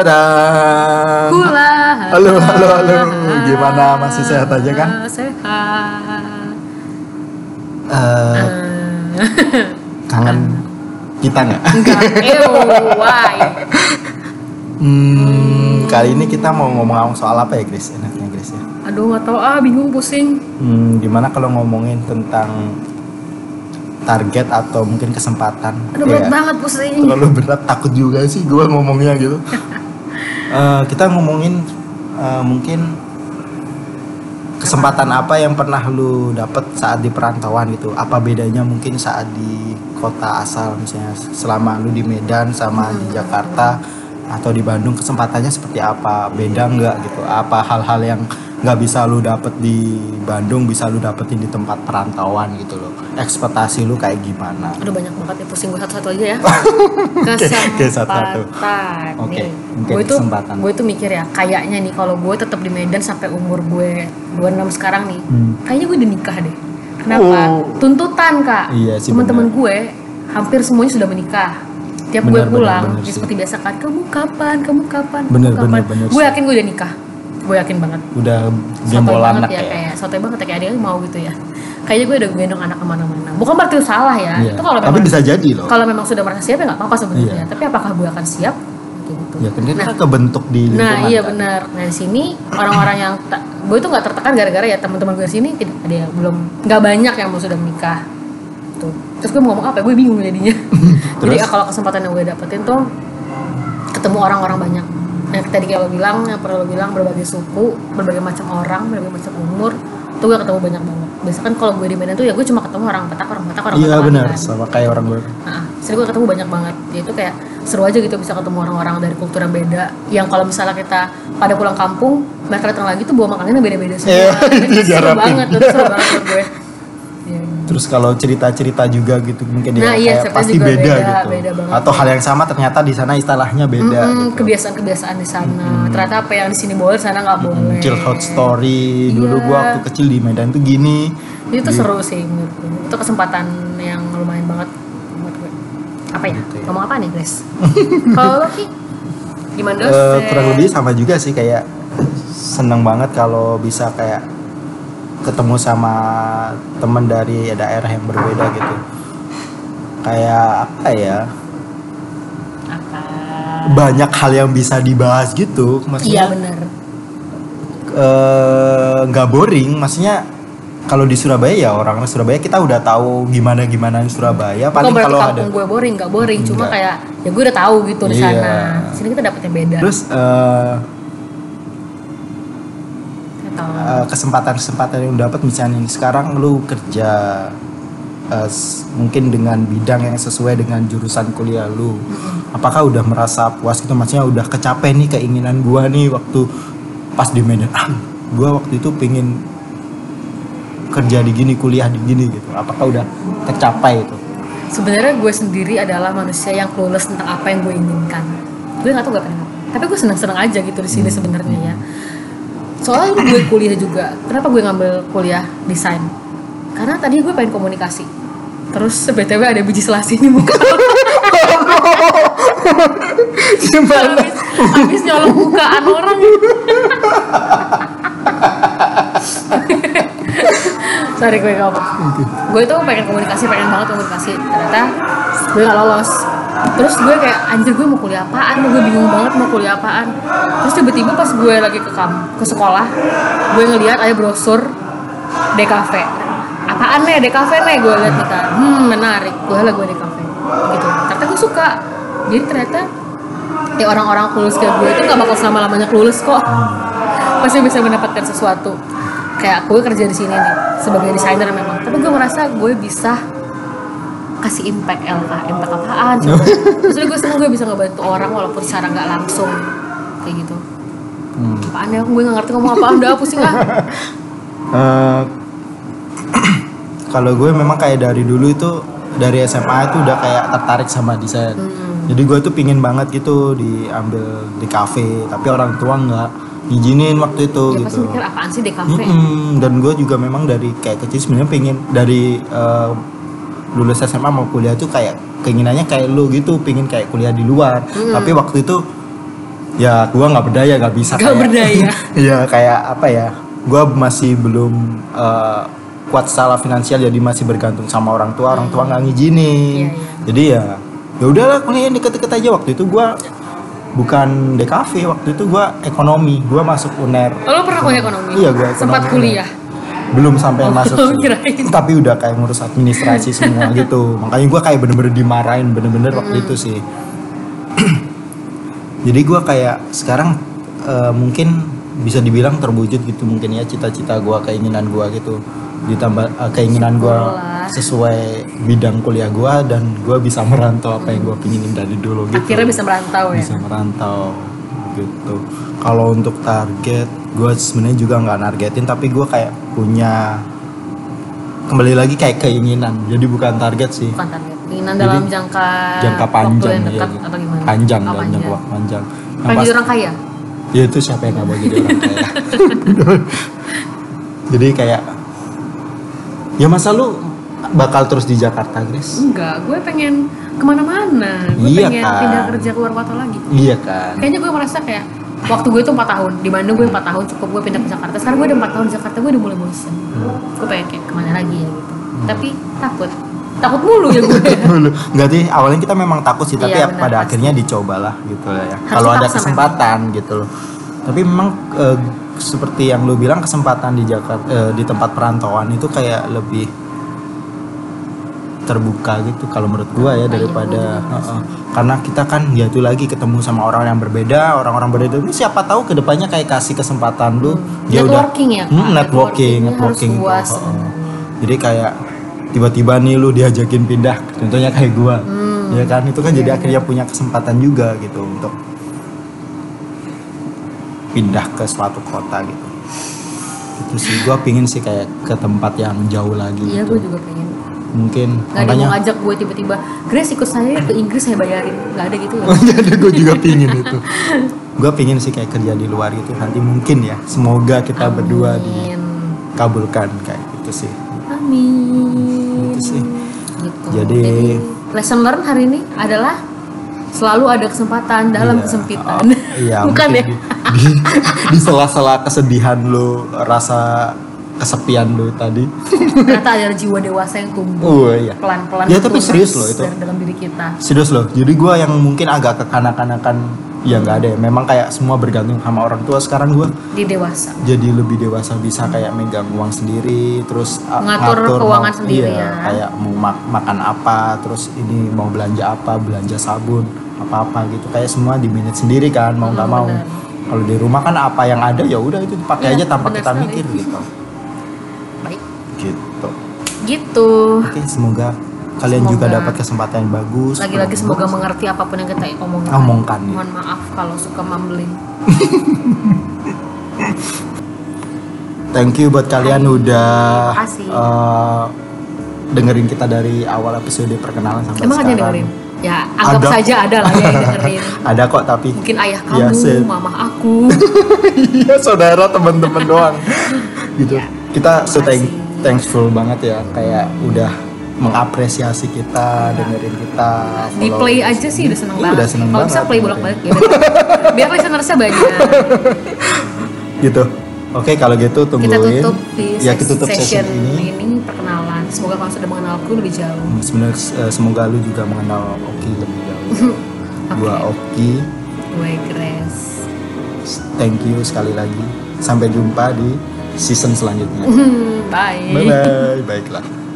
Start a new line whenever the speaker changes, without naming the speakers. Dadadang.
Kula.
Halo, halo, halo. Gimana? Masih sehat aja kan?
Sehat.
Eh, kangen kita nggak?
Ew, why?
Hmm, kali ini kita mau ngomong soal apa ya, Chris? Enaknya, Chris ya.
Aduh, nggak tahu ah, bingung, pusing.
Hmm, gimana kalau ngomongin tentang target atau mungkin kesempatan? Iya.
Aduh, berat
Kayak
banget, pusing.
terlalu berat, takut juga sih gue ngomongnya gitu. Eh, kita ngomongin eh, mungkin kesempatan apa yang pernah lu dapet saat di perantauan gitu? Apa bedanya mungkin saat di kota asal misalnya selama lu di Medan sama
Hmm.
di Jakarta atau di Bandung kesempatannya seperti apa? Beda nggak gitu? Apa hal-hal yang nggak bisa lu dapet di Bandung bisa lu dapetin di tempat perantauan gitu loh? Ekspektasi lu kayak gimana?
Aduh, banyak banget ya, pusing gue satu-satu aja ya.
oke, satu-satu.
Kesempatan.
Oke,
nih.
mungkin
Gue tuh,
kesempatan.
gue tuh mikir ya, kayaknya nih kalau gue tetap di Medan sampai umur gue 26 sekarang nih,
Hmm.
kayaknya gue udah nikah deh. Kenapa?
Oh.
Tuntutan, Kak.
Iya sih,
Teman-teman gue hampir semuanya sudah menikah. Tiap
Benar, benar,
gue pulang,
benar
ya
sih.
seperti biasa kan, kamu kapan? Kamu kapan? Kamu
Benar,
kapan?"
benar, benar
Gue
sih.
yakin gue udah nikah. Gue yakin banget.
Udah
Sotoy
gembol
banget
anak
ya,
ya?
kayak sotoy banget ya kayak dia mau gitu ya kayaknya gue udah gendong anak kemana-mana bukan berarti itu salah ya
Iya.
itu kalau
Tapi
memang
bisa jadi loh.
kalau memang sudah merasa siap ya nggak apa-apa sebenarnya
Iya.
tapi apakah gue akan siap gitu
Ya kan kita
nah,
kebentuk di lingkungan.
nah iya
kan?
benar nah di sini orang-orang yang ta- gue tuh nggak tertekan gara-gara ya teman-teman gue di sini tidak ada yang belum nggak banyak yang belum sudah menikah tuh terus gue mau ngomong apa ya? gue bingung jadinya jadi
Terus?
ya, kalau kesempatan yang gue dapetin tuh ketemu orang-orang banyak yang tadi kayak lo bilang yang perlu lo bilang berbagai suku berbagai macam orang berbagai macam umur tuh gue ketemu banyak banget biasanya kan kalau gue di Medan tuh ya gue cuma ketemu orang petak orang petak orang
Iya
petak
benar,
kan.
sama kayak orang gue.
Nah, sering gue ketemu banyak banget. Ya itu kayak seru aja gitu bisa ketemu orang-orang dari kultur yang beda. Yang kalau misalnya kita pada pulang kampung, mereka datang lagi tuh bawa makanannya beda-beda
Iya,
semua.
itu
itu seru
diharapin.
banget, itu seru banget buat gue. Iya.
Terus kalau cerita-cerita juga gitu mungkin dia
Nah, iya,
kayak
cerita
pasti
juga
beda,
beda,
gitu.
beda banget.
Atau hal yang sama ternyata di sana istilahnya beda
Mm-mm,
gitu.
kebiasaan-kebiasaan di sana. Ternyata apa yang di sini boleh, di sana nggak boleh.
Chill hot story. Dulu
Iya.
gua waktu kecil di Medan tuh gini.
Itu
gitu.
tuh seru sih menurut gue. Itu kesempatan yang lumayan banget buat gue. Apa ya?
Gitu ya.
Ngomong apa nih, Grace? kalau lo Ki? Gimana
Eh,
dosen?
kurang lebih sama juga sih kayak seneng banget kalau bisa kayak ketemu sama temen dari daerah yang berbeda gitu. Kayak apa ya?
Apa?
Banyak hal yang bisa dibahas gitu. Maksudnya
Iya benar.
eh, nggak boring maksudnya kalau di Surabaya ya orang Surabaya kita udah tahu gimana gimana di Surabaya paling
Bukan berarti
kalau ada
kampung gue boring, nggak boring, cuma
Nggak.
kayak ya gue udah tahu gitu di
Iya.
sana. Di Sini kita dapetnya beda.
terus eh,
Atau
eh, kesempatan-kesempatan yang dapat misalnya nih, sekarang lu kerja eh, s- mungkin dengan bidang yang sesuai dengan jurusan kuliah lu apakah udah merasa puas gitu maksudnya udah kecapai nih keinginan gua nih waktu pas di Medan ah, gua waktu itu pengen kerja di gini kuliah di gini gitu apakah udah tercapai itu
sebenarnya gue sendiri adalah manusia yang clueless tentang apa yang gue inginkan. Gue nggak tahu gak pengen. apa. Tapi gue seneng-seneng aja gitu di
Hmm.
sini sebenarnya ya. Soalnya dulu gue kuliah juga. Kenapa gue ngambil kuliah desain? Karena tadi gue pengen komunikasi. Terus btw ada biji selasi di muka.
gimana
habis, habis nyolong bukaan orang sorry gue gak apa gue tuh pengen komunikasi pengen banget komunikasi ternyata gue gak lolos terus gue kayak anjir gue mau kuliah apaan gue bingung banget mau kuliah apaan terus tiba-tiba pas gue lagi ke kam ke sekolah gue ngeliat ada brosur DKV apaan nih DKV nih gue liat nih kan hmm menarik gue lah gue DKV gitu ternyata gue suka jadi ternyata ya orang-orang kulus kayak gue itu gak bakal selama-lamanya kulus kok pasti bisa mendapatkan sesuatu kayak gue kerja di sini nih sebagai desainer memang tapi gue merasa gue bisa kasih impact LK impact apaan maksudnya gue seneng gue bisa ngebantu orang walaupun secara nggak langsung kayak gitu
Hmm.
apaan ya gue gak ngerti ngomong apaan udah pusing lah
Eh, kalau gue memang kayak dari dulu itu dari SMA itu udah kayak tertarik sama desain. Jadi gue tuh pingin banget gitu diambil di kafe, tapi orang tua nggak ngizinin waktu itu
ya pasti
gitu.
mikir apaan sih di kafe
Mm-mm. Dan gue juga memang dari kayak kecil sebenarnya pengen dari eh, lulus SMA mau kuliah tuh kayak keinginannya kayak lu gitu, pingin kayak kuliah di luar. Tapi waktu itu ya gue nggak berdaya nggak bisa
Nggak berdaya.
Iya kayak apa ya gue masih belum eh, kuat secara finansial jadi masih bergantung sama orang tua orang tua nggak ngizinin
Iya, iya.
jadi ya ya udahlah kuliah deket-deket aja waktu itu gue bukan DKV waktu itu gue ekonomi gue masuk UNER
Oh, lo pernah kuliah ekonomi?
Iya, gua
Sempat
ekonomi. Gitu.
kuliah.
belum sampai
Oh,
masuk sih.
kirain.
tapi udah kayak ngurus administrasi semua gitu makanya gue kayak bener-bener dimarahin bener-bener waktu
Hmm.
itu sih jadi gue kayak sekarang eh, mungkin bisa dibilang terwujud gitu mungkin ya cita-cita gue keinginan gue gitu ditambah eh, keinginan gue
Syukurlah.
sesuai bidang kuliah gue dan gue bisa merantau apa yang gue pinginin dari dulu gitu
Akhirnya bisa merantau ya.
bisa merantau gitu kalau untuk target gue sebenarnya juga nggak nargetin tapi gue kayak punya kembali lagi kayak keinginan jadi bukan target sih
Bukan target. Keinginan dalam
Jadi,
jangka
jangka
Ah, waktu
panjang
yang
ya
dekat apa gimana?
panjang
oh,
dan jangka waktu panjang Yang
Pengen jadi
pasti-
orang kaya?
ya itu siapa yang nggak mau jadi orang kaya jadi kayak ya masa lu bakal terus di Jakarta Grace
Enggak, gue pengen kemana-mana. Gue
Iya
pengen
kan.
pindah kerja keluar kota lagi.
iya kan
Kayaknya gue merasa kayak waktu gue tuh 4 tahun di Bandung gue 4 tahun cukup gue pindah ke Jakarta sekarang gue udah 4 tahun di Jakarta gue udah mulai bosen
Hmm.
gue pengen kayak kemana lagi ya gitu tapi takut takut mulu ya gue
Enggak sih, awalnya kita memang takut sih, tapi
Iya,
ya
benar,
pada
pasti.
akhirnya dicobalah gitu lah ya. Kalau ada
dipaksa
kesempatan gitu loh. Tapi memang eh, seperti yang lu bilang kesempatan di Jakarta eh, di tempat perantauan itu kayak lebih terbuka gitu kalau menurut gua ya
Iya, gua
daripada
juga merasa.
Heeh. karena kita kan ya itu lagi ketemu sama orang yang berbeda orang-orang berbeda ini siapa tahu kedepannya kayak kasih kesempatan lu dia udah
networking ya Kak?
Hmm, networking,
Networkingnya
networking itu.
harus luas
Oh, oh. Jadi kayak tiba-tiba nih lu diajakin pindah, contohnya kayak gua.
Hmm.
Ya kan itu
Iya,
kan jadi akhirnya punya kesempatan juga gitu untuk pindah ke suatu kota gitu. Itu sih gua pingin sih kayak ke tempat yang jauh lagi
iya gue
gitu.
juga pengen
Mungkin
Gak ada
makanya
yang mau ngajak gue tiba-tiba Grace ikut saya ke Inggris saya bayarin Gak ada gitu ya
jadi gue juga pingin itu gue pingin sih kayak kerja di luar gitu nanti mungkin ya semoga kita berdua
Amin
dikabulkan kayak gitu sih
Amin
Gitu sih.
Gitu.
Jadi-
Lesson learn hari ini adalah Selalu ada kesempatan dalam
Iya.
kesempitan
Oh, iya,
Bukan
mungkin
ya
Di, di- di sela-sela kesedihan lu, rasa kesepian lu tadi.
Ternyata ada jiwa dewasa yang tumbuh
Oh iya.
Pelan-pelan
Ya, tapi
tunas
serius loh itu.
dari dalam diri kita
Serius loh. Jadi gua yang mungkin agak kekanak-kanakan ya nggak ada ya. Memang kayak semua bergantung sama orang tua. Sekarang gua
Di dewasa
jadi lebih dewasa bisa kayak megang uang sendiri terus uh,
Ngatur keuangan sendiri
iya,
ya.
kayak mau mak- makan apa terus ini mau belanja apa belanja sabun apa apa gitu kayak semua di manage sendiri kan mau nggak
Hmm,
mau
benar.
kalau di rumah kan apa yang ada ya udah itu dipakai
Iya,
aja tanpa
benar
kita
sekali.
mikir gitu
Baik
gitu
Gitu
oke semoga kalian juga
Semoga.
dapat kesempatan yang bagus
Lagi-lagi semoga mengerti apapun yang kita omongkan
Omongkan, ya.
Mohon maaf kalau suka mumbling
thank you buat kalian udah
Makasih.
eh, dengerin kita dari awal episode perkenalan sampai
Emang ada yang
sekarang
dengerin? Ya, anggap
Ada.
saja ada lah ya yang dengerin.
ada kok tapi
Mungkin ayah
Iya,
kamu,
Sid.
mamah aku.
Iya saudara teman-teman doang gitu
Ya.
kita so thank-
Makasih.
thankful banget ya kayak udah mengapresiasi kita dengerin kita
Di
follow.
play aja sih udah seneng
Iya,
banget.
udah seneng
Kalau bisa
banget.
play bolak-balik ya. Biar listenersnya banyak.
gitu oke kalau gitu tungguin
Kita tutup di
ya
ses-
kita tutup session, ini,
perkenalan. Semoga kalau sudah mengenalku lebih jauh.
Hmm, sebenarnya eh, semoga lu juga mengenal Oki lebih jauh gua Oki
Gue Grace.
thank you sekali lagi sampai jumpa di season selanjutnya
Hmm, Bye.
bye bye baiklah